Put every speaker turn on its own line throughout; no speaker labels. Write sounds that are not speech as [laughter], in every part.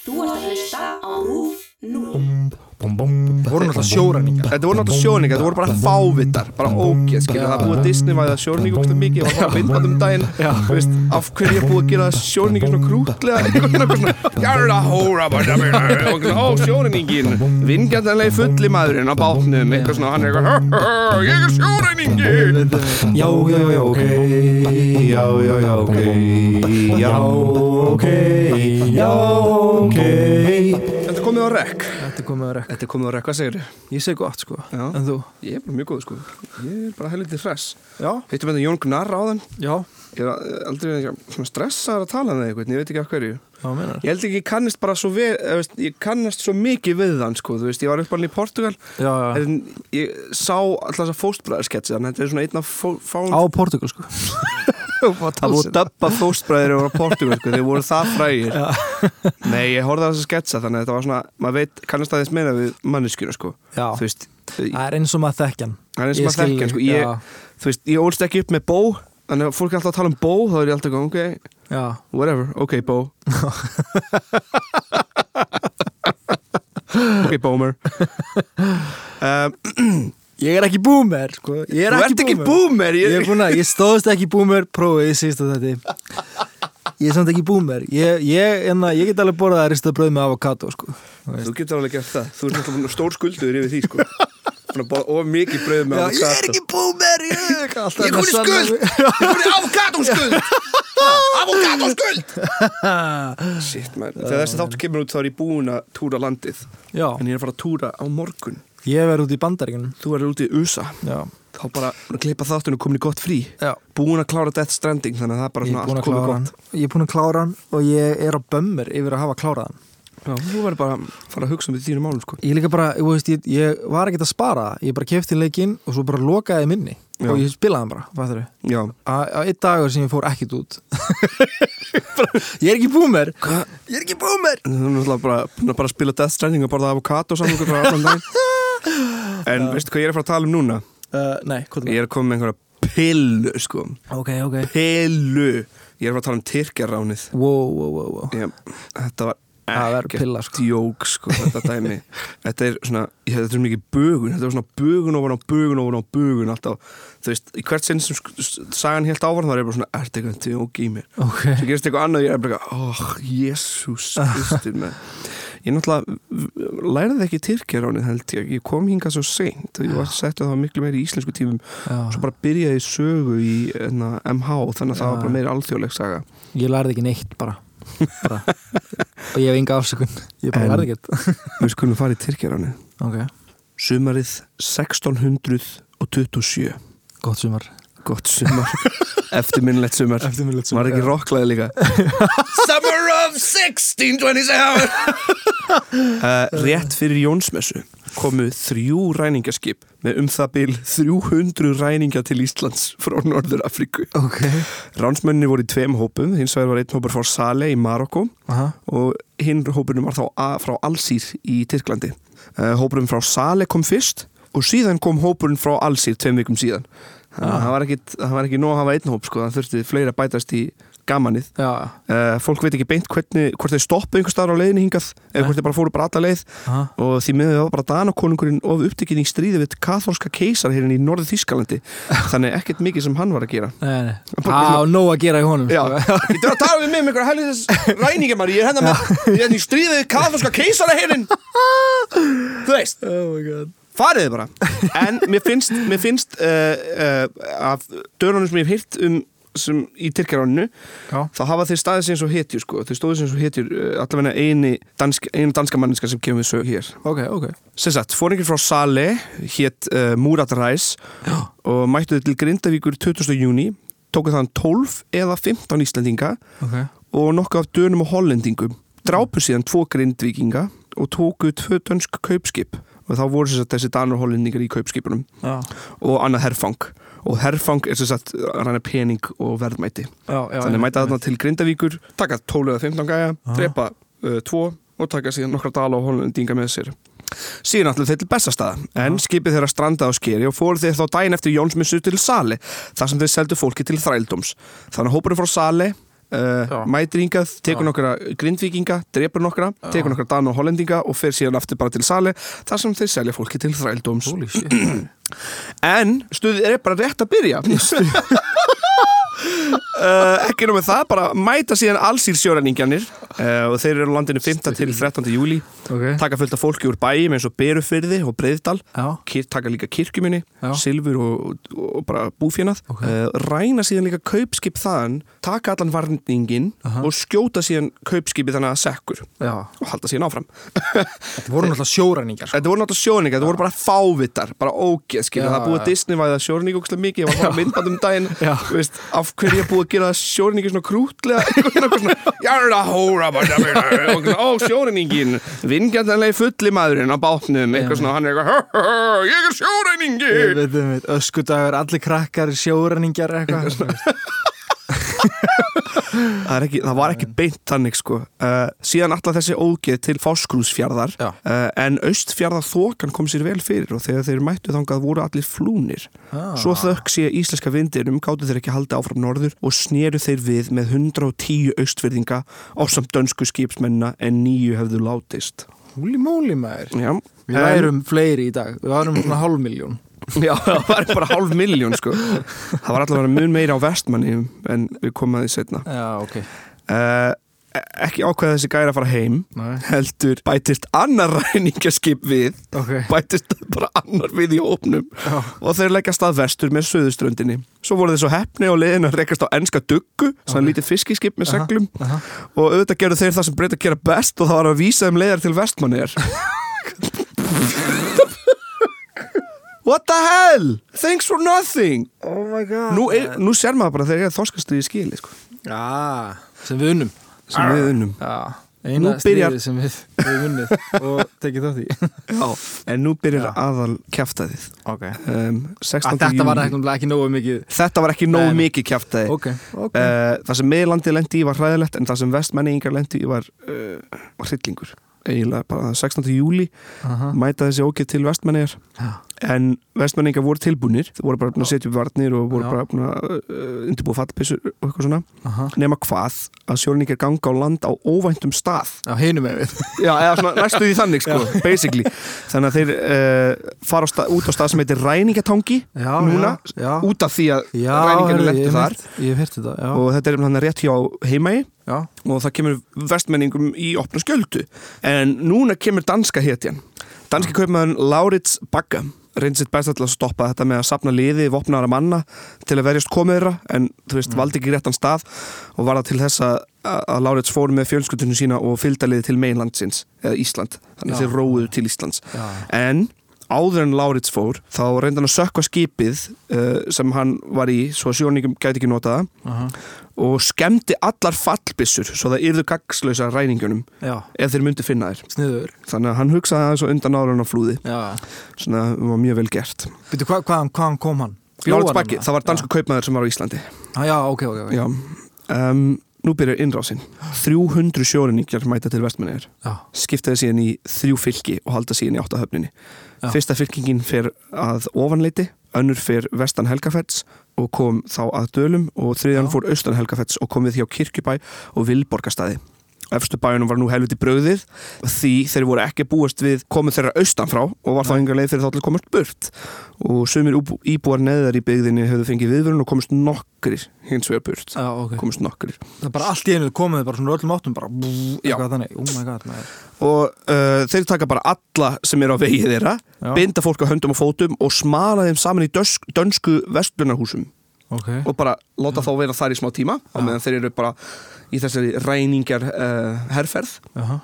Þú ert að hlusta á RÚF 0.
Þetta
Þetta voru náttúrulega sjóræningar Þetta voru náttúrulega sjóræningar, þetta voru bara fávitar Bara ógeð, skilja, það er búið að Disneyvæða sjóræningar úrstum mikið, það var bara myndband um daginn Þú veist, af hverju er búið að gera sjóræningar svona [laughs] krútlega Einhvern veginn okkur svona Jarra hóra, bara Og svona, ó, sjóræningin Vingjandanlega fulli maðurinn á bátnum Eitthvað svona, hann er eitthvað Ég er sjóræningin
Já, já, já, ok Já, já, já, ok Já, ok Já, ok
Þetta er komið á rekk
Þetta er komið að rekka.
Þetta er komið á rekk, hvað segir
Ég segi gott sko,
Já.
en þú?
Ég er bara mjög góð, sko Ég er bara helviti fress
Já,
Hittum þetta Jón Gnarr á
já,
Ég er aldrei svona stressaður að tala með einhvern, ég veit ekki af hverju.
já, meinar.
Ég held ekki, ég kannast bara svo við, eða, veist, ég kannast svo mikið við hann, sko, þú veist, ég var uppalinn í Portugal,
Já, já,
en ég sá alltaf þess að fóstbræðarsketsi, þannig að þetta er svona einn af fó- fáum...
á Portugal [laughs] sko.
það voru döbba fóstbræðir og Portugal, sko, þeir voru það frægir. Nei, ég horfði að þess að sketsa, þannig að þetta var svona, maður veit, kannast aðeins meira við manneskjuna, sko,
Já,
þú veist,
það er eins og maður þekkjan.
það er eins og maður þekki, hann, sko,
Já,
ég, þú veist, ég ólst ekki upp með bó, þannig að fólk er alltaf að tala um bó, þá er ég alltaf að ganga, ok,
já,
Whatever, ok
[laughs]
Bo Ok Boomer um,
ég er ekki boomer sko, ég er
Þú
ekki
ert ekki
boomer.
boomer
Ég er
ég,
búin að, ég stóðst ekki boomer prófið í sísta þetta. Ég er samt ekki boomer. Ég, ég, enna, ég get alveg borðað að rista bröð með avokado sko. Þú veist.
Þú getur alveg gert það Þú ert náttúrulega stór skuldur yfir því sko Þannig að bóða of mikið brauð með
Já, ég
avocado.
er ekki boomer, ég er [laughs] ekki alltaf
Ég kom í
með sanna-
skuld Ég kom í avokadóskuld
[laughs]
Avokadóskuld Shit man Þegar þessi þáttu kemur út þá er ég búin að túra landið
Já,
En ég er að fara að túra á morgun
ég verð út í bandaríkunum.
Þú er úti í USA
Já,
Þá bara að kleipa þáttunum komin í gott frí
já.
búin að klára Death Stranding þannig að það er bara svona
Ég er búin
allt
að klára
komið
hann
gott
Ég er búin að klára hann og ég er á bömmir yfir að hafa klárað hann
Já, þú verður bara að fara að hugsa um því þínu málum sko
Ég líka bara, ég, veist, ég, ég var ekkert að spara Ég bara kefti leikinn og svo bara lokaði minni
Já.
og ég spilaði hann bara, hvað þurru
Já,
Á einn dagur sem ég fór ekkert út [laughs] bara, Ég er ekki búmer Ég er ekki búmer
þú erum náttúrulega bara, búin að bara spila Death Stranding og borða avokado saman frá allan dag
[laughs]
En veistu hvað ég er að fara að tala um núna?
uh, Nei, hvað
Ég er að koma með einhverja pillu sko
Ok, ok
Pillu Ég er að fara að tala um Tyrkjaránið
Wow, wow, wow, wow.
Ég- Þetta var
Það verður
ekkert
pilla, sko.
djók sko þetta dæmi Þetta er svona, ég, þetta er mikið bugun Þetta er svona bugun ofan á bugun ofan á bugun alltaf Þú veist, í hvert sinn sem sk- s- sagan helt ávarð þá er ég bara svona, ertu eitthvað djók í mér
Ok,
Svo gerist eitthvað annað og ég er bara eitthvað, óh, jésús, kristur með. Ég náttúrulega læraði ekki tyrkjaránið held ég, ég kom hingað svo seint og ég var sett að það var miklu meiri í íslensku tímum. Svo
já,
bara byrjaði ég sögu í enna, MH þannig að það var bara meiri alþjóðleg saga.
ég lærði ekki neitt bara, bara. og ég hef enga afsökun Ég bara
En-
lærði ekkert
Við skulum fara í tyrkjaránið.
Ok,
Sumarið 1627.
gott sumar
Gott
[laughs]
sumar. Eftirminnlegt sumar.
Eftirminnilegt
Var ekki rocklaði
[laughs]
líka Summer of
[laughs]
1627 uh, Rétt fyrir Jónsmessu komu þrjú ræningaskip með um það bil 300 ræninga til Íslands frá Norður Afríku
Ok,
Ránsmönni voru í tveim hópum hins vegar var einn hópur frá Saleh í Marokko
aha
og hinn hópurinn var þá a- frá Alsýr í Tyrklandi uh, Hópurinn frá Saleh kom fyrst og síðan kom hópurinn frá Alsýr tveim vikum síðan Þannig að það var ekkit- það var ekki nóg að hafa einn hóp sko, það þurfti fleira að bætast í gamanið
Já,
Uh, fólk veit ekki beint hvernig, hvort þeir stoppu einhver staðar á leiðinni hingað eða hvort þeir bara fóru bara alla leið
aha
og því miður var bara Danakonungurinn of upptekinn í stríði við katholska keisar hérna í norðu Þískalandi þannig ekkert mikið sem hann var að gera
Nei, nei. Á, nóg að gera í honum
Já,
[laughs]
sko.
getur að tala við mig um einhverja helvitis ræningar maður, ég er hérna með, ég er hérna í stríði við katholska keisara hérna Þú veist,
Oh my god
fariði bara En mér finnst, mér finnst uh, uh, af dörunum sem ég hef hýrt um sem í Tyrkjaráninu
Já,
þá hafa þeir staðið sér eins og hetjur sko. þeir stóðu sér eins og hetjur uh, allavega eini dansk, einu danska manninska sem kemur við sög hér
ok, ok
sem sagt, fóringir frá Sale hétt uh, Murat Ræs og mættuðu til Grindavíkur 20. júni tóku þann 12 eða 15 Íslandinga
Ok,
og nokkuð af dönum og hollendingum drápu síðan tvo grindvíkinga og tóku tvö dönsk kaupskip og þá voru sem sagt, þessi danur og hollendingar í kaupskipunum
já,
og annað herfang og herfang er sem sagt rannar pening og verðmæti
já, já
þannig mæta þarna til Grindavíkur taka 12 eða 15 gæja,
Ah.
drepa uh, tvo og taka síðan nokkra dala og hollendinga með sér síðan allir þeir til bestastaða en skipið þeirra strandaði á skeri og fóru þeir þá dæin eftir Jónsmissu til Sali þar sem þeir seldu fólki til þrældóms þannig að hópurinn frá Sali uh,
Já.
mætir hingað, tekur nokkra grindvíkinga drepur nokkra, tekur nokkra dana og hollendinga og fer síðan aftur bara til sali þar sem þeir selja fólki til þrældóms
Holy shit
en stuðið er bara rétt að byrja [laughs] uh, ekki nú með það bara mæta síðan allsýr sjóræningjanir uh, og þeir eru á landinu 15 til 13. júli
Ok.
taka fullt af fólki úr bæjum eins og Berufyrði og Breiðdal
Já.
Kyr, taka líka kirkjumunni,
Já.
silfur og, og bara búfjönað
Ok.
ræna síðan líka kaupskip þaðan taka allan varningin
Aha.
og skjóta síðan kaupskipi þannig að sekkur
Já
og halda síðan áfram [laughs]
Þetta voru náttúrulega
sko.
sko. sjóræningar
Þetta voru náttúrulega sjóningar, þetta voru bara fávitar bara ógeð, skilur,
Já,
það er búið
já.
að Disney-væða sjóningu ógeðslega mikið, ég var að fá myndband um daginn
Já.
þú veist, af hverju er búið að gera sjóningu svona krútlega, [laughs] einhvern veginn svona jarða hóra, bara, bara, bara, og svona, ó sjóræningin, vingjandanlega fulli maðurinn á bátnum, eitthvað svona, hann er eitthvað "Hö, hö, hö, ég er sjóræningi
Ég veit um þetta, öskudagur, allir krakkar, sjóræningar eitthvað
það, er ekki, það var ekki beint þannig sko uh, síðan alltaf þessi ógeð til Fáskrúsfjarðar
Já.
uh, en austfjarðar þokan kom sér vel fyrir og þegar þeir mættu þangað voru allir flúnir
Ah.
svo þökk sé íslenska vindinum gáttu þeir ekki halda áfram norður og sneru þeir við með 110 austfyrðinga á samt dönsku skipsmennina en nýju hefðu látist
Húli móli maður
Já.
Við værum fleiri í dag, við værum svona hálfmiljón
Já, það var bara hálf miljón sko það var allavega mun meira á vestmanni en við komum að því setna
Já, ok
uh, ekki ákveða þessi gæra að fara heim heldur bætist annar [laughs] ræningaskip við
Ok
bætist bara annar við í hópnum og þeir leggast að vestur með söðuströndinni svo voru þeir svo heppni á leiðin að rekast á enska duggu, svona lítið fiskiskip með seglum og auðvitað gerðu þeir það sem breyta að gera best og það var að vísa þeim leiðar til
[laughs]
vestmannir What the hell? Thanks for nothing
Oh my god
Nú, er, nú sér maður bara þegar þorskastu í skili sko,
Já,
Sem við unnum
sem við unnum
já
Nú
Eina
byrjar-
styrið sem við við vunnið og tekið þátt í
Já, en nú byrjar aðal kjæftæðið
Ok
um, 16.
Að þetta var
júní.
ekki, ekki nógu mikið
Þetta var ekki nógu mikið kjæftæði
Ok, ok
uh, Það sem meðlandið lendi í var hræðilegt en það sem vestmenningar lendi í var, uh, var hryllingur eiginlega bara 16. júli
Aha.
mæta þessi ógeð til vestmenningar
Já.
en vestmenningar voru tilbúnir þau voru bara búin að setja upp varnir og voru
Já.
bara búin að uh, undirbúa fattbissur og eitthvað svona
Aha.
nema hvað að sjóningar ganga á land á óvæntum stað
Já, hinum er við
Já, eða svona næstu því þannig sko, basically Þannig að þeir uh, fara á stað, út á stað sem heitir Ræningatangi
[laughs] Já,
Núna,
já, já.
út af því að
Já,
Ræningarnir
heyrðu,
lentu
ég
þar
hef heyrt- Ég hef hert þetta, já
Og þetta er hann rétt hjá heimægi
Já,
Og það kemur vestmenningum í opna skjöldu En núna kemur danska hetjan Danski kaupmaðurinn Laurits Bagga reyndi sitt besta til að stoppa þetta með að sapna liði vopnaðara manna til að verjast komið þeirra en þú veist, valdi ekki réttan stað og var það til þess að, að að Laurits fór með fjölskyldunum sína og fylgda liði til meginlandsins eða Ísland, þannig að
Já.
þeir róuðu til Íslands
já
en áður en Laurits fór þá reyndi hann að sökka skipið uh, sem hann var í svo að sjóningum gæti ekki nota það
Aha.
og skemmdi allar fallbissur svo það yrðu gagslösa ræningunum
Já,
ef þeir myndi finna þér
sniður
þannig að hann hugsaði aðeins og undan áður en hann flúði
Já,
svona það var mjög vel gert
Býtu, hva, hvaðan, hvaðan kom hann?
Laurits Bakki, það var dansku kaupmaður sem var á Íslandi
ah, já, ok, ok, ok
já um, nú byrjar innrásin 300 sjórinningjar mæta til vestmennir
Já,
skipta þeir síðan í þrjú fylki og halda síðan í áttahöfninni.
Já.
Fyrsta fylkingin fer að ofanleiti, önnur fer vestan Helgafells og kom þá að Dölum og þriðjan
Já.
fór austan Helgafells og kom við hjá Kirkjubæ og Vilborgastæði. Efstu bæjunum var nú helviti brauðið því þeir voru ekki að búast við komið þeirra austan frá og var þá engar leið fyrir þá til að komast burt og sumir úbú- íbúar neðar í byggðinni höfðu fengið viðvörun og komist nokkrir hins vegar burt,
já, ok
komist nokkrir
Það er bara allt í einu komið bara svona öllum áttum bara bú,
Já.
eitthvað þannig, oh my god maður.
og uh, þeir taka bara alla sem er á vegi þeirra
Já.
binda fólk á höndum og fótum og smala þeim saman í dösk, dönsku vestlunarhúsum
Ok
og bara láta þá vera þar í smá tíma á meðan þeir eru bara í þessari ræningar uh, herferð
Aha.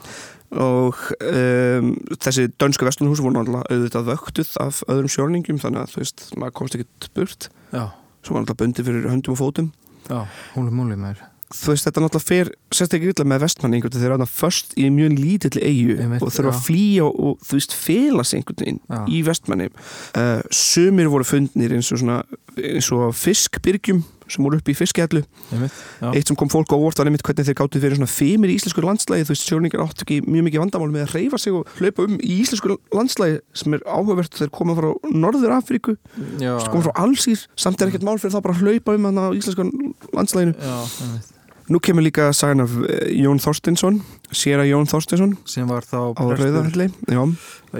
og um, þessi dönsku vestlunarhús voru náttúrulega auðvitað vöktuð af öðrum sjórningum þannig að þú veist, maður komst ekkert burt
Já,
svo var náttúrulega bundið fyrir höndum og fótum
já, húli múli maður
þú veist þetta náttúrulega fer sérstaklega illa með vestmann einhvern veginn þeir eru þarna först í mjög lítill eigu
Einmitt,
og þurfa
já.
að flýja og, og þú veist fela sig einhvern veginn
Já.
í vestmanni uh, sumir voru fundnir eins og svona eins og fiskbyrgjum sem voru upp í fiskjallu
Einmitt, já
eitt sem kom fólk á óvart var nefnitt hvernig þeir gáttu verið svona femir í íslensku landslægi þú veist sjóningar átt ekki mjög mikið vandamál með að reyfa sig og hlaupa um í íslensku landslægi sem er áhugavert þeir koma frá Norður Afríku,
Já,
koma frá Allsýr samt er ekkert mál fyrir það bara að hlaupa um hann á íslensku landslæginu
já, einmitt
Nú kemur líka sagan af eh, Jón Þorstinsson, séra Jón Þorstinsson
sem var þá
á Rauðarhalli, já,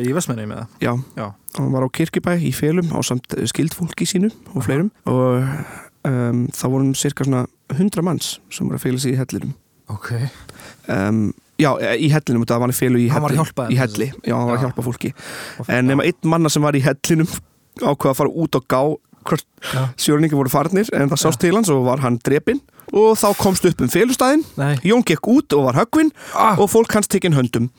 í Vestmenni með það
já,
Já.
hann var á Kirkibæ í félum á samt skildfólki sínu og fleirum og um, það vorum cirka svona 100 manns sem voru að féla sig í hellinum.
ok,
Um, já, eh, í hellinum, þetta var hann í félu í
Hann var að
helli,
hjálpa þeim,
í helli, já, hann var að
Já.
hjálpa fólki. En nema einn manna sem var í hellinum [laughs] ákveða að fara út og gá hvort
Já.
sjörningi voru farnir en það sást til hans og var hann drepinn og þá komst upp um félustæðin
nei,
Jón gekk út og var höggvinn
Ah.
og fólk hans tekinn höndum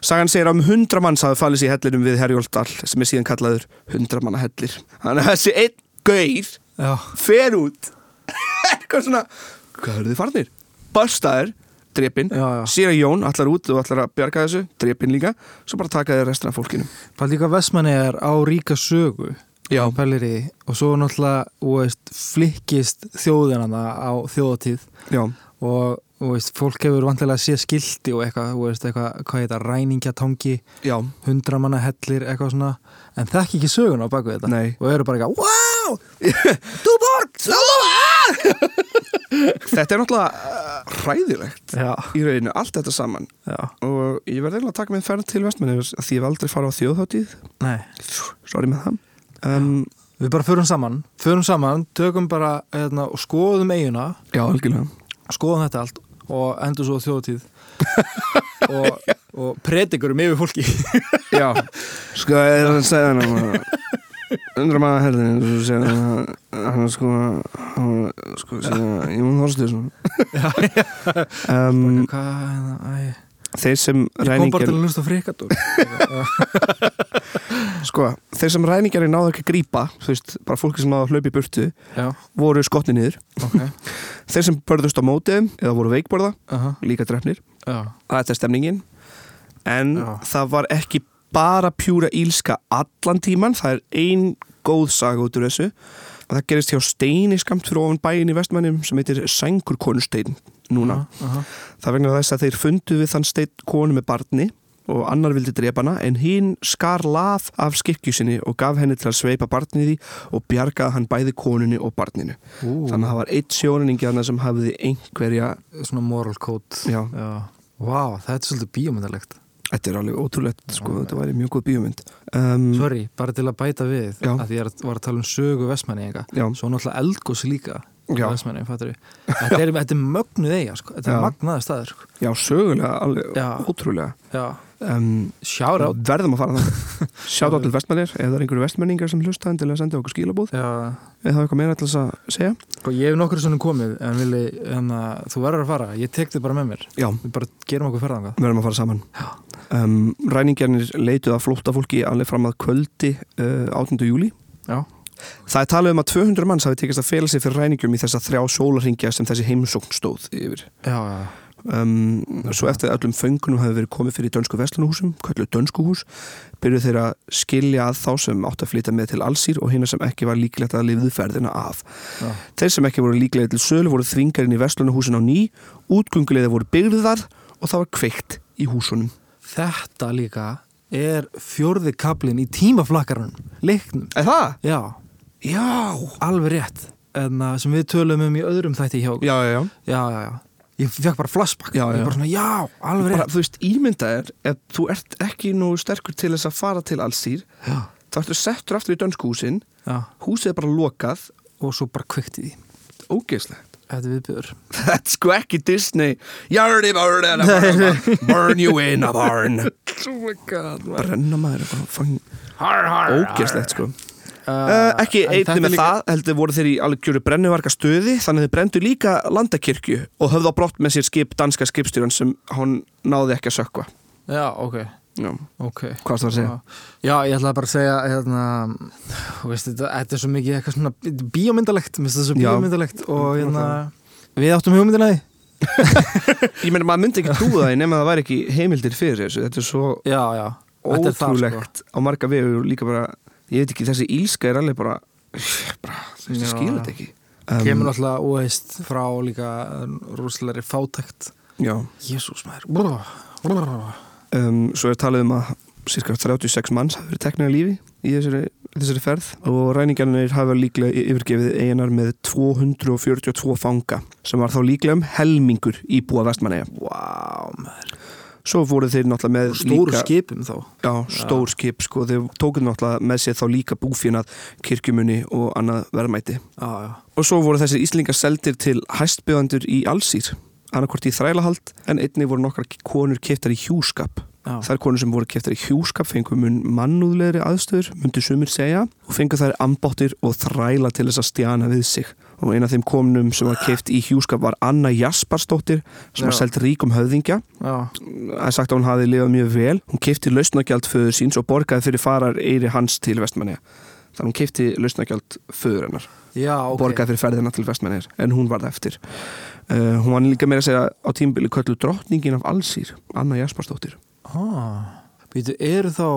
Sagan segir að um hundra manns hafi falið sér í hellinum við Herjóldal sem er síðan kallaður hundra manna hellir Þannig að þessi einn gauð
já,
fer út [laughs] eitthvað svona hvað eru þið farnir? Börstaðir, drepinn,
já, já
sér að Jón allar út og allar að bjarga þessu, drepinn líka svo bara taka þið restina af fólkinu
Pæl líka Vestmanni er á ríka sögu
Já.
Pælir í og svo náttúrulega þú veist, flikkist þjóðinana á þjóðatíð
Já,
og þú veist, fólk hefur vantilega að sé skilti og eitthvað, þú veist, eitthvað hvað heita, ræningjatangi,
já,
[laughs] hundramanna hellir eitthvað svona, en þekki ekki söguna á baku þetta
Nei.
og eru bara eitthvað Wow! Duborg! Duborg!
[laughs] þetta er náttúrulega uh, hræðilegt
Já,
í rauninu, allt þetta saman
já,
og ég verði eiginlega að taka með ferð til vestmenni því ég hef aldrei farið á þjóðháttíð
nei
sorry með það um,
Við bara förum saman, förum saman, tökum bara hérna, og skoðum eiguna
Já, algjörlega
skoðum þetta allt og endur svo á þjóðtíð og, og predikurum yfir fólki
Já, sko, ég er að segja hann undra maður að herðin eins og þú segir hann, hann sko hann, sko, segja, Jón Þorstinsson um,
Hvað, hérna, æ,
Þeir sem
ég kom bara
ræningjar
til að hlusta frikador
sko, þeir sem ræningjarnir náðu ekki að grípa þú veist, bara fólki sem náðu að hlaupa í burtu
[laughs] Já,
voru skotni niður
ok
Þeir sem börðust á mótiðum eða voru veikborða,
Aha,
líka drefnir
já,
Þetta er stemningin En
Já.
það var ekki bara pjúra ílska allan tíman Það er ein góð saga út úr þessu Og það gerist hjá steini skamt fyrir ofan bæin í vestmannum sem heitir Sængurkonustein núna.
aha,
Það er vegna þess að þeir fundu við þann stein konu með barni og annar vildi drepa hana en hinn skar lað af skikkjusinni og gaf henni til að sveipa barnið í og bjargaði hann bæði konunni og barninu.
ú
Þannig að það var eitt sjóninningi þannig sem hafði einhverja,
Svona moral code
já,
Já, vá, þetta er svolítið bíómyndalegt
Þetta er alveg ótrúlegt, sko, þetta væri mjög góð bíómynd um,
Sorry, bara til að bæta við
Já.
að ég er, var að tala um sögu vestmanni enga
Já,
Svo náttúrulega eldgósi líka
Já.
Vestmanni, fattur Þetta er, þetta er mögnuð eiga, sko Þetta er
Já.
magnaði staður, sko
já sögulega, alveg
Já.
ótrúlega
Já,
um,
sjára
Verðum að fara
[laughs]
það Sjátt á til vestmennir, ef það er einhverju vestmenningar sem hlusta endilega senda okkur skilabóð
Já,
eða hafa eitthvað meira til þess að segja
Sko, ég hef nokkur svona komið en vilji, en að þú verður að fara ég tek þig bara með mér,
Já,
við bara gerum okkur ferðangað
verðum að fara saman um, Ræningjarnir leituð að flóttafólki alveg fram að kvöldi uh, 8. júli
Já.
Það er talað um að 200 manns hafi tekist að fela sig fyrir ræningjum í þessa þrjá sólarringja sem þessi heimsókn stóð yfir
Já, já,
um, svo eftir að öllum föngunum hafi verið komið fyrir dönsku verslunuhúsum, kallu dönskuhús byrjuð þeir að skilja að þá sem átt að flytja með til allsýr og hinn sem ekki var líklegt að lifðu ferðina af
Já.
þeir sem ekki voru líklega til sölu voru þvingarinn í verslunuhúsin á ný útgungulegða voru byrðar og það var kveikt í húsunum
þetta líka er fjórði kaplinn í tímaflakkarunum leiknum,
Er það?
já,
Já
alveg rétt en að, sem við tölum um í öðrum þætti hjá okkur.
Já, já, já
já, já, já, ég fekk bara flashback
Já,
ég
já.
bara svona, já, alveg
bara,
rétt
Þú veist, ímynda er ef þú ert ekki nú sterkur til þess að fara til allsýr
já,
þá ertu settur aftur í dönskuhúsin
já,
húsið er bara lokað,
og svo bara kveikt í því
ógeðslegt
þetta er viðbjör
Þetta er sko ekki Disney Yardi burn and a
[laughs]
burn Burn you in a barn Oh my god Brenna maður er bara fang Ógeðslegt sko uh,
Ah,
Ekki einni með það heldur voru þeir í alveg kjöru brennuvarka stöði þannig að þeir brendu líka landakirkju og höfðu á brott með sér skip danska skipstjórn sem hann náði ekki að sökva
já, ok,
Já,
ok
hvað það að
Ah.
segja?
Já, ég ætlaði bara að segja hérna, þú veist, þetta, þetta er svo mikið eitthvað svona bíómyndalegt, minnst þetta svo
Já.
bíómyndalegt og hérna, við áttum hugmyndina því
Ég meina maður myndi ekki trúa það nema það væri ekki heimildir fyrir þessu Þetta er svo
Já, já, þetta er það sko.
ótrúlegt á marga vegu og líka bara ég veit ekki, þessi ílska er alveg bara bara, þú veist,
Já.
ég skil þetta ekki Um,
kemur alltaf óheist frá líka rúslegari fátækt
Já,
Jésús maður brr, brr.
um, svo er talið um að cirka 36 manns hafi verið teknað í lífi í þessari þessari ferð og ræningarnir hafa líklega yfirgefið einar með 242 fanga sem var þá líklega um helmingur íbúa vestmanneja.
Vá, maður.
Svo voru þeir náttúrulega með
stóru
líka...
skipum þá
Já, stór skip, sko, þeir tókuð náttúrulega með sér þá líka búfjönað, kirkjumunni og annað verðmæti.
já, já.
Og svo voru þessir íslingar seldir til hæstbjöðandur í allsýr, annarkvort í þrælahald, en einni voru nokkra konur keftar í hjúskap.
Já.
Þær konur sem voru keftar í hjúskap fengu mun mannúðlegri aðstöður, myndi sumir segja, og fengu þær ambottir og þræla til þess að stjana við sig. Og eina af þeim konum sem var keft í hjúskap var Anna Jasparsdóttir, sem var
Já.
seld ríkum höfðingja
Já.
það er sagt að hún hafi lifað mjög vel hún kefti lausnagjald föður síns og borgaði fyrir farar eiri hans til vestmanni þannig hún kefti lausnagjald föður hennar
já, ok
borgaði fyrir ferðina til vestmanni en hún varð eftir uh, hún var líka meira að segja á tímbili köllu drottningin af allsýr, Anna Jasparsdóttir
ah. Býtu, eru þá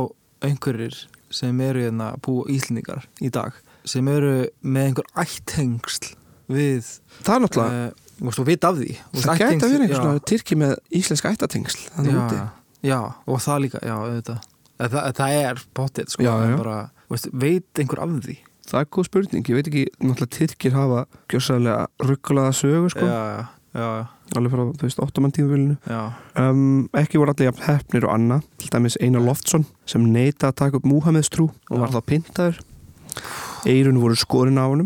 einhverjir sem eru hérna bú íslendingar í dag sem eru með einhver ættengsl við
það er náttúrulega,
uh, og svo vita af því Þú veist,
það gæti
ættengsl-
að vera
já.
einhvers svona tyrki með íslenska ættatengsl þannig úti
já, já, og það líka, já, auðvitað Þa, það, það er pottet, sko
Já, já.
en Bara, veist, veit einhver af því
það er góð spurning, ég veit ekki náttúrulega tyrkir hafa gjössalega ruggulaða sögu sko,
já, já,
alveg frá, þú veist, ottoman tíðvölinu
já,
Um, ekki voru allir jafn hefnir og anna til dæmis Einar Loftsson sem neyta að taka upp Múhameðs trú og var þá pyntaður Eirun voru skorin á honum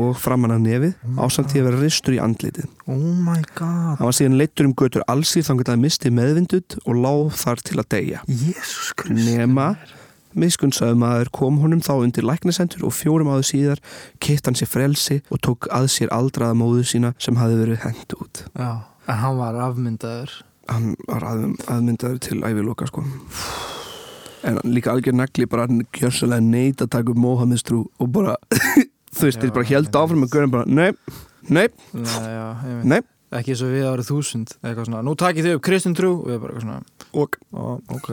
og framan að nefið
Mm.
ásamt því að vera ristur í andlitið
oh my god
hann var síðan leittur um götur allsýr þannig að misti meðvindut og láð þar til að deyja
Jesus Kristus
nema miskunnsöðum aður kom honum þá undir læknisendur og fjórum áður síðar kitt hann sér frelsi og tók að sér aldraða móðu sína sem hafi verið hent út
já, en hann var afmyndaður
hann var að, aðmyndaður til æviloka sko en hann líka algjör nagli bara hann gjörsalega neyta að taka upp Mohameds trú og bara [laughs] þú veist,
Já,
þeir bara held
ég
áfram
veit.
og görðum bara, nei, nei,
Nei, já, ég veit.
nei
ekki eins og við árið þúsund eitthvað svona, nú takið þau upp kristin trú og við bara eitthvað svona,
og
ó, ok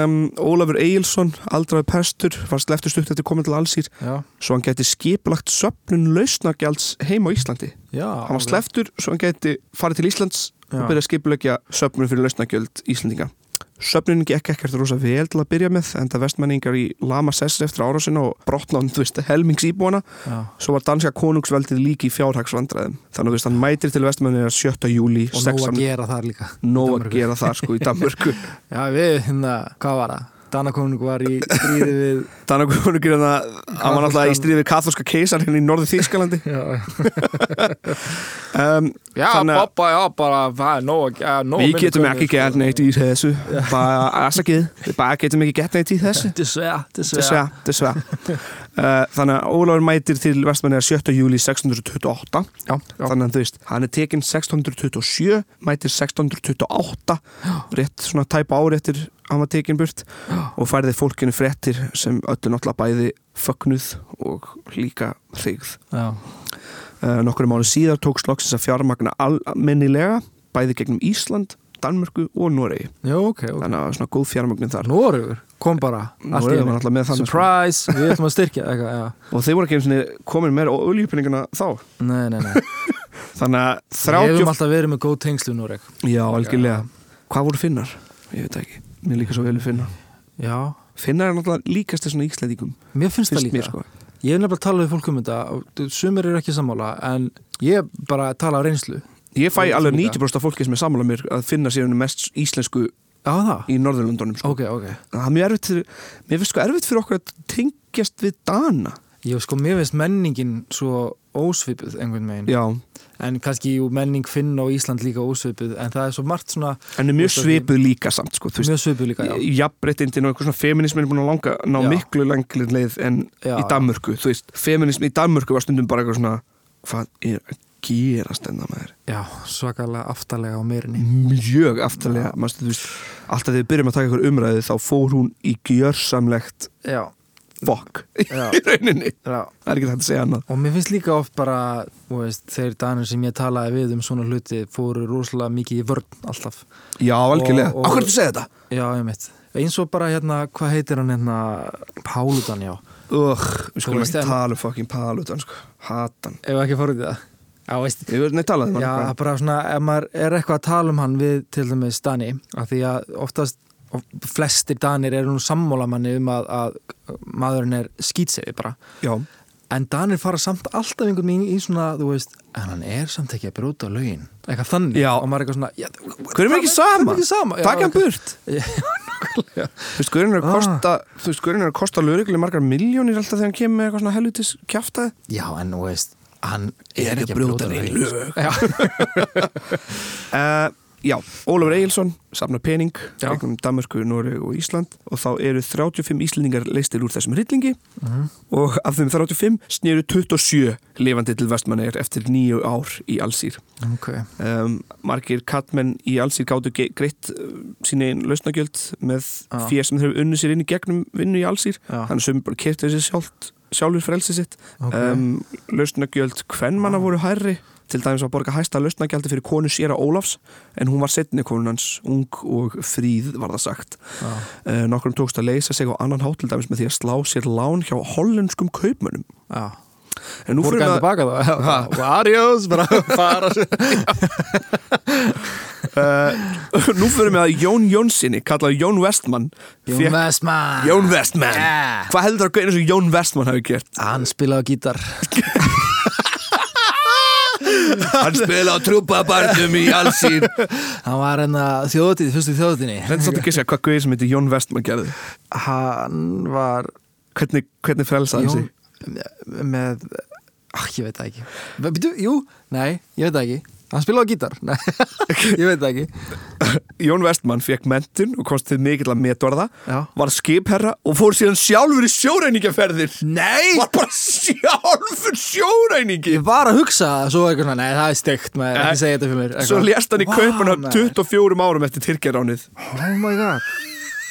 um, Ólafur Egilson, aldraði pestur var sleftur stutt eftir komin til allsýr
já,
svo hann gæti skipulagt söpnun lausnagjalds heim á Íslandi
já
hann var
ok.
sleftur svo hann gæti farið til Íslands og
Já.
byrja að skipulegja söpnun fyrir lausnagjöld Íslandinga. Söpnunin gekk ekkert rosa vel til að byrja með en það vestmenningar í lama sessir eftir árásina og brotnaðan, þú veist, helmings íbúana
já.
svo var danska konungsveldið líki í fjárhagsvandræðum þannig að þú veist, hann mætir til vestmenningar 7. júli
og nú að
16.
gera þar líka
Nó að
Danmörku.
gera það sko í
[laughs]
Danmörku
já, við, hérna, hvað var það? Danakonung var í stríði við
Danna konungur en það hann var náttúrulega í stríði við katholska keisar hérna í norðu
[laughs]
Þýskalandi
já,
um,
Já,
Þannig að-
pappa, já, bara, það er nóg, já, nóg sko.
Við getum
sko.
ekki gert neitt í þessu bara aðsakið, við bara getum ekki gert neitt í þessu
dessvera, dessvera
Dessvega, dessvega.
[laughs]
uh, þannig að Ólafur mætir til vestmenniða 7. júli 1628
Já, já,
þannig að þú veist, hann er tekinn 1627 mætir 1628 rétt svona tæpa ári eftir hann var tekinn burt og færði fólkinu fréttir sem öllu náttúrulega bæði fögnuð og líka hrigð
já,
uh, nokkru mánu síðar tók sloksins að fjármagna almennilega bæði gegnum Ísland, Danmörku og Noregi
já, ok, ok
þannig að svona góð fjármagnin þar
Noregur kom bara allt í
Noregur var
einu.
alltaf með þannig sko.
Surprise, við ætlum að styrkja eitthvað, já
og þeir voru ekki einu sinni komin meira á oljupenninguna þá
Nei,
[laughs]
nei, nei,
Þannig að 30...
við hefum alltaf verið með góð tengslu Noreg
Já, algjörlega. Hvað voru finnar? Ég veit það ekki. Mér líka svo vel við finna.
Já,
Finnar er náttúrulega líkast þessum íslendingum.
mér finnst það
Fyrst
líka
mér sko.
Ég hef nefnilega talað við fólk um þetta og sumir eru ekki sammála en ég bara tala á reynslu
Ég fæ
Ég
alveg
líka.
90% af fólki sem er sammála mér að finna sér mest íslensku
Já það?
í Norðurlundunum. Sko.
Ok, ok
Það er mjög erfitt fyrir, mér finnst sko erfitt fyrir okkur að tengjast við Dana.
Ég sko, mér finnst menningin svo ósvipuð einhvern veginn
Já,
en kannski jú, menning finn á Ísland líka ósvipuð en það er svo margt svona
en er mjög
Þú veist að
svipuð líka samt sko. Þú veist,
mjög svipuð líka já.
jafnbreytindin og eitthvað svona feminismin er búin að langa ná
Já.
miklu langlir leið en
Já,
í
já.
Danmörku, þú veist, feminismin í Danmörku var stundum bara eitthvað svona, hvað er að gerast enna maður?
já, svakalega aftalega á meirinni
mjög aftalega manstu, þú veist, alltaf þegar við byrjum að taka ykkur umræði þá fór hún í gjörsamlegt
Já,
fokk
já,
í rauninni
já
það er ekki hægt að segja annað
Og mér finnst líka oft bara, þú veist, þeir danir sem ég talaði við um svona hluti fóru rosalega mikið í vörn alltaf.
já, algjörlega,
Og- og-
á hvernig þú segir þetta?
Já, ég mitt. Eins og bara hérna, hvað heitir hann hérna, Páludan, já.
Ugh, við
Þú
skulum
veist,
ekki
en-
tala um fokkin palutan sko. hatan,
Ef ekki fóruð í það. Já, veist.
ég verður neitt talað um
Já,
hann
bara svona, ef maður er eitthvað að tala um hann við til dæmis Dani, af því að oftast og flestir danir eru nú sammála manni um að, að maðurinn er skýtsefi bara
Já,
en danir fara samt alltaf einhvern veginn í svona, þú veist, en hann er samt ekki að brjóta lögin, eitthvað þannig
Já.
og maður er eitthvað svona, já,
hver er ekki sama?
ekki sama
Takk hann burt
[laughs] Já, Ah.
Þú veist, hverjum er að kosta Þú veist, hverjum er að kosta lögreglu margar miljónir alltaf þegar hann kemur með eitthvað svona helvitis kjafta
já, en þú veist, hann
Ég
er ekki að brjóta lögin
lög uh, Já, Ólafur Egilson safnar pening,
Já.
eignum Danmarku, Noreg og Ísland og þá eru 35 Íslendingar leistir úr þessum hryllingi
Mhm.
og af þeim 35 sneru 27 lifandi til vestmanneir eftir nýju ár í allsýr
ok,
um, margir kattmenn í allsýr gáttu ge- greitt uh, sín einn lausnagjöld með
Já.
fér sem þeir hafa unni sér inn í gegnum vinnu í allsýr
já,
þannig sem bara kertu þessi sjálft sjálfur frelsi sitt
ok
um, lausnagjöld hvern manna voru hærri til dæmis að borga hæsta lausnagjaldi fyrir konu séra Ólafs en hún var setni konun hans ung og fríð var það sagt
já.
uh, nokkrum tókst að leysa sig á annan hátt til dæmis með því að slá sér lán hjá hollenskum kaupmönnum
já.
en nú fyrir
Borgaði
að,
tilbaka þá Varjós, bara fara
uh, nú fyrir með að [laughs] Jón Jónssoni kallað Jón Vestmann fékk-
Vestmann
Jón Vestmann
Yeah.
hvað heldur það að eins og Jón Vestmann hafi gert [laughs]
Hann spilaði á gítar
hann spila á trúpabarnum í allsýr
Hann var hérna þjóðatíð, fyrstu þjóðatíðni
reynda svolítið að gíska hvað guðið sem heitir Jón Vestmann gerði
Hann var
hvernig, hvernig frelsaði hann sig
með
Ach, ah, ég veit það ekki Býtu, Jú, nei, ég veit það ekki Hann spilaði á gítar Nei, [laughs] ég veit það ekki
Jón Vestmann fekk mentun og komst til mikill að metorða
Já.
var skipherra og fór síðan sjálfur í sjóræningaferðir
Nei
var bara sjálfur sjóræningi
Ég var að hugsa það, svo eitthvað svona Nei, það er steikt, maður
Nei.
ekki segja þetta fyrir mér
svo lést hann í
Vá,
kaupunum
maður.
24 árum eftir Tyrkjaránið
Oh my god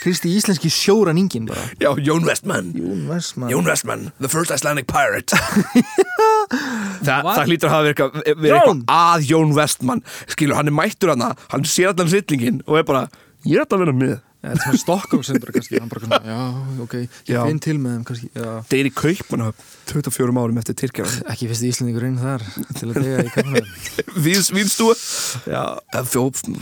Fyrsti íslenski sjóranningin bara
já, Jón Vestmann
Jón Vestmann
Jón Vestmann, the first Icelandic pirate [laughs] Þa, Það hlýtur að hafa verið eitthvað- verið
Jón!
eitthvað að Jón Vestmann skilur, hann er mættur hana, hann sér allan sýtlingin og er bara, ég er þetta að vera með
Já, Þetta var Stokkómsendur kannski Hann bara svona, já, ok Ég
Já.
finn til með þeim kannski Já
Það er í kaupunum 24 árum eftir Tyrkjaránið [laughs]
Ekki fyrst Íslandingurinn þar til að dega í kaffinu
Vínstúi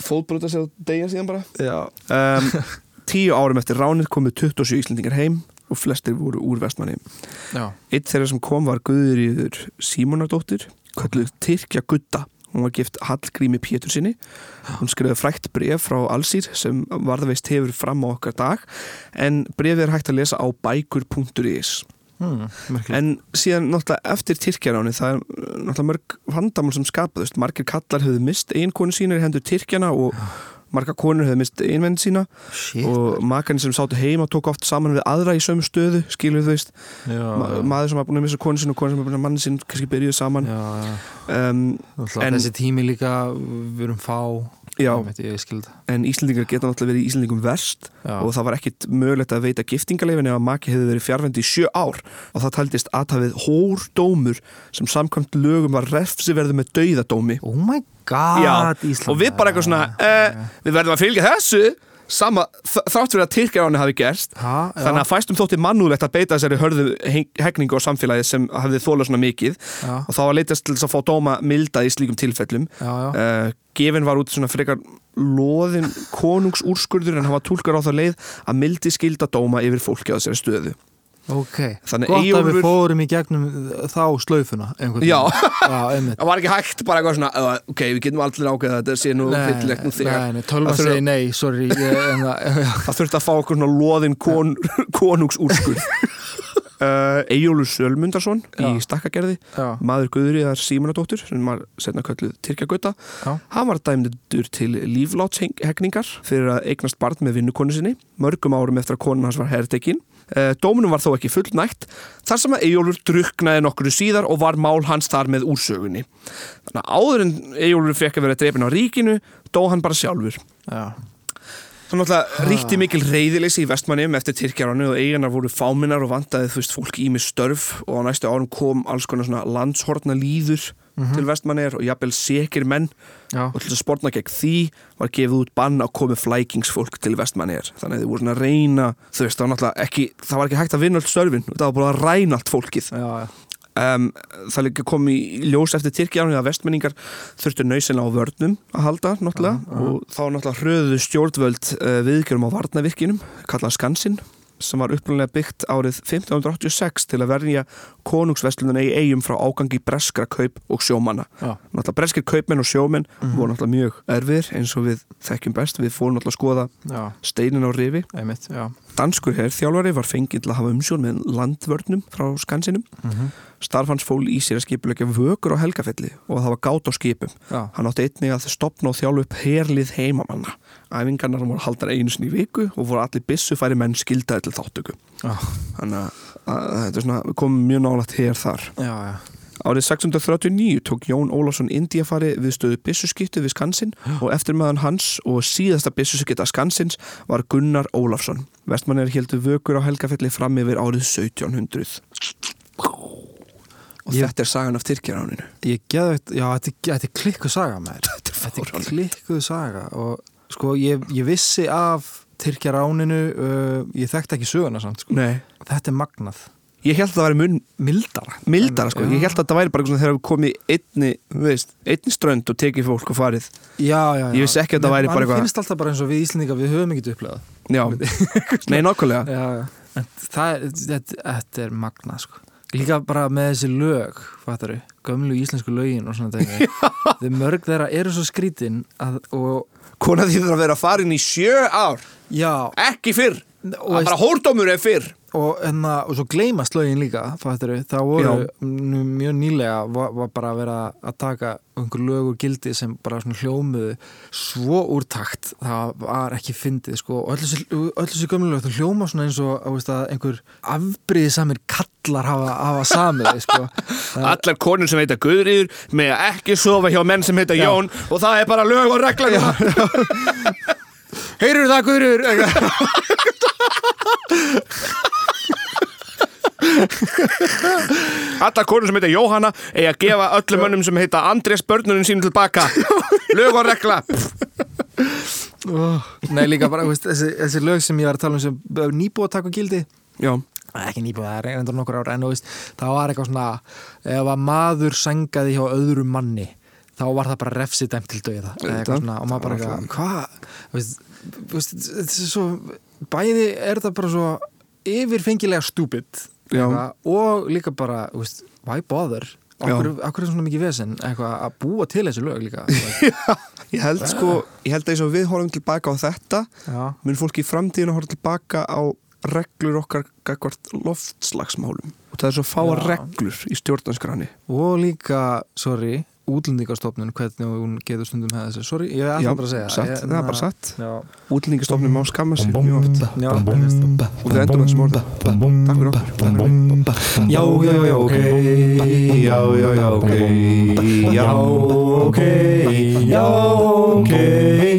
Fótbrota sig og degja síðan bara
Já
um, [laughs] Tíu árum eftir ránið komið 27 Íslendingar heim og flestir voru úr vestmanni
[laughs] Já,
Eitt þeirra sem kom var Guðuríður Símonardóttir kölluð Tyrkja Gutta Hún var gift Hallgrími Pétursinni Hún skrifaði frækt bref frá Allsýr sem varðveist hefur fram á okkar dag en brefið er hægt að lesa á bækur.is
hmm, merkilegt
En síðan náttúrulega eftir Tyrkjaráni það er náttúrulega mörg vandamál sem skapaðust. Margir kallar höfðu mist einkonu sína í hendur Tyrkjana og margar konur höfðu mist einvenn sína
Shit
og makarnir sem sátu heima tók oft saman við aðra í sömu stöðu, skilur þú veist.
já,
Ma
já,
maður sem var búin að missa konu sína og konu sem var búin að manni sín kannski byrjuðu saman.
já, já.
Um,
Náttúrulega
En-
Þessi tími líka Við erum fá
já,
Ég veit, Ég skild
en Íslendingar geta náttúrulega verið Íslendingum verst
Já,
og það var ekkit mögulegt að veita giftingarleifin ef að maki hefði verið fjárvendi í sjö ár og það taldist aðhafið hórdómur sem samkvæmt lögum var refsiverðu með dauðadómi
Oh my god
Já,
Ísland
og við bara eitthvað svona uh, við verðum að fylgja þessu sama, þ- þrátt fyrir að Tyrkjaráni hafi gerst
ha, já,
þannig að fæstum þótti mannúlegt að beita þessari hörðu heng- hegningu á samfélagi sem hafði þóla svona mikið
Já.
og þá var leitast til þess að fá dóma milda í slíkum tilfellum
Já, já,
uh, gefin var út svona frekar loðin konungsúrskurður en hann var tólkar á þá leið að mildi skilda dóma yfir fólki á þessari stöðu
ok
Þannig
Gott að
Eyjólfur-
við fórum í gegnum uh, þá slaufuna einhvern
Já.
veginn. Já,
[laughs]
einmitt
það var ekki hægt bara eitthvað svona "Uh, ok, við getum allir ákveða þetta sé nú fyllilegt nú þegar
nei, nei, tölva
Það þurfa-
segi nei, sorry ég, en það, [laughs] já,
það þurfti að fá okkur svona loðin kon, [laughs] konungsúrskur uh, Eyjólu Sölmundarsson í
Já.
stakkagerði
já,
maður Guðriðar Símonadóttur sem var setna kölluð Tyrkjagöta
Já.
hann var dæmdur til líflátshegningar fyrir að eignast barn með vinnukonu sinni mörgum árum eftir að konan hans var herrtekin uh, dóminum var þó ekki fullnægt þar sem að Eyjólfur druknaði nokkru síðar og var mál hans þar með úrsögunni þannig að áður en Eyjólfur fekk að vera drefin á ríkinu dó hann bara sjálfur
já,
Svo náttúrulega ríkti mikil reyðileysi í vestmannum eftir Tyrkjaránu og eiginar voru fáminnar og vandaði þú veist fólk ími störf og á næstu árum kom alls konar svona landshorna líður til vestmannir og jafnvel sekir menn
já.
og til þess að sporna gegn því var gefið út bann að komi flækingsfólk til vestmannir þannig að þið voru svona að reyna þú veist það var náttúrulega ekki það var ekki hægt að vinna allt störfin það var búin að ræna allt fólkið
já, já.
um, það líka kom í í ljós eftir Tyrkjánu að vestmenningar þurftu nöysina á vörnum að halda náttúrulega og þá náttúrulega hröðu stjórnvöld uh, viðgjörum á varnavirkinum kallað Skansinn sem var upplunlega byggt árið 1586 til að verja konungsveslununa í eigum frá ágangi breskra kaup og sjómanna
Já.
náttúrulega breskir kaupmenn og sjómenn voru náttúrulega mjög erfir eins og við þekkjum best við fórum náttúrulega að skoða
Já,
steinin á rifi
einmitt, já
Danskur herrþjálfari var fengið til að hafa umsjón með landvörnum frá skansinum. Starf hans fól í sér að skipulegja vökur á helgafelli og að hafa gát á skipum.
Já.
Hann átti einnig að stopna og þjálfa upp herlið heimamanna. Æfingarnar voru haldar einu sinni í viku og voru allir byssufæri menn skildaði til þáttöku.
Já.
Þannig að, að þetta er svona, við komum mjög nálægt hér þar.
Já, já,
Árið 639 tók Jón Ólafsson Indiafari við stöðu byssuskiptu við Skansinn og eftirmaðan hans og síðasta byssuskipta Skansins var Gunnar Ólafsson. Vestmannir heldur vökur á helgafelli fram yfir árið 1700. Og
Ég-
þetta er sagan af Tyrkjaráninu.
ég geðu Já, þetta er- þetta er klikkuð
[laughs]
saga maður Þetta er
fáránlegt.
klikkuð saga og sko, ég, ég vissi af Tyrkjaráninu, uh, ég þekkti ekki söguna samt, sko.
Nei.
Þetta er magnað
Ég held að það væri mun
Mildara
mildara sko.
Já.
Ég held að það væri bara eitthvað svona þegar við komum í einni, þú veist, einni strönd og tekið fólk og farið.
Já, já, já
Ég vissi ekki að þetta
Mér-
væri bara
mann
eitthvað-
finnst alltaf bara eins og við Íslendingar, við höfum ekkert upplegað
Já. Nei, nokkulega.
Já, já En það, er- þetta, þetta er magna, sko Líka bara með þessi lög, fattaru Gömlu íslensku lögin og svona
[laughs]
dæmi Þeir mörg þeirra eru svo skrítin að, og,
Kona því þarf að vera farin í sjö ár.
Já,
Ekki fyrr.
og,
Það er bara hórdómur ef fyrr.
og, enna, og svo gleymast lögin líka fattaru, það voru
Já.
nú mjög nýlega var, var bara að vera að taka einhver lög og gildi sem bara svona hljómuðu svo úr takt það var ekki fyndið sko og öll þessi- öll þessi gömlu lög það hljóma svona eins og að, veist, að einhver afbriði samir kallar hafa, hafa samið sko Það-
Allar konur sem heita Guðrýður með að ekki sofa hjá menn sem heita Jón og það er bara lög og regla
Heyrur það Guðrur?
[laughs] Allar konur sem heita Jóhanna eigi að gefa öllum mönnum sem heita Andrés börnunum sínum [laughs] tilbaka lög og regla
Nei líka bara veist, þessi, þessi lög sem ég var að tala um sem nýbúið að taka gildi
Já,
Nei, ekki nýbúið, það er reyndur nokkur ára en þú veist, það var eitthvað svona ef að maður sengaði hjá öðrum manni þá var það bara refsidæmt til döiða eða
Auðvitað.
eitthvað svona og maður bara eitthvað, hvað Þú veist, þú veist, þetta er svo bæði er þetta bara svo yfirfengilega stúpid
Já.
og líka bara, þú veist, why bother
Já.
Akkur, akkur er svona mikið vesen eitthvað að búa til þessi lög
[laughs]
líka
ég held sko ég held að eins og við horfum tilbaka á þetta
Já,
mun fólki í framtíðinu horfa tilbaka á reglur okkar gagvart loftslagsmálum og það er svo fáa
Já.
reglur í stjórnanskrani
og líka, sorry útlendingastofnun, hvernig hún getur stundum hefði þessu, sorry, ég ætla bara að segja
satt,
Ég-
það er bara satt
Já,
Útlendingastofnum má skamma sér mjög oft
já,
og við endum þessum orða Takk fyrir okkur
Já, já, já, ok Já, já, já, ok Já, ok Já, ok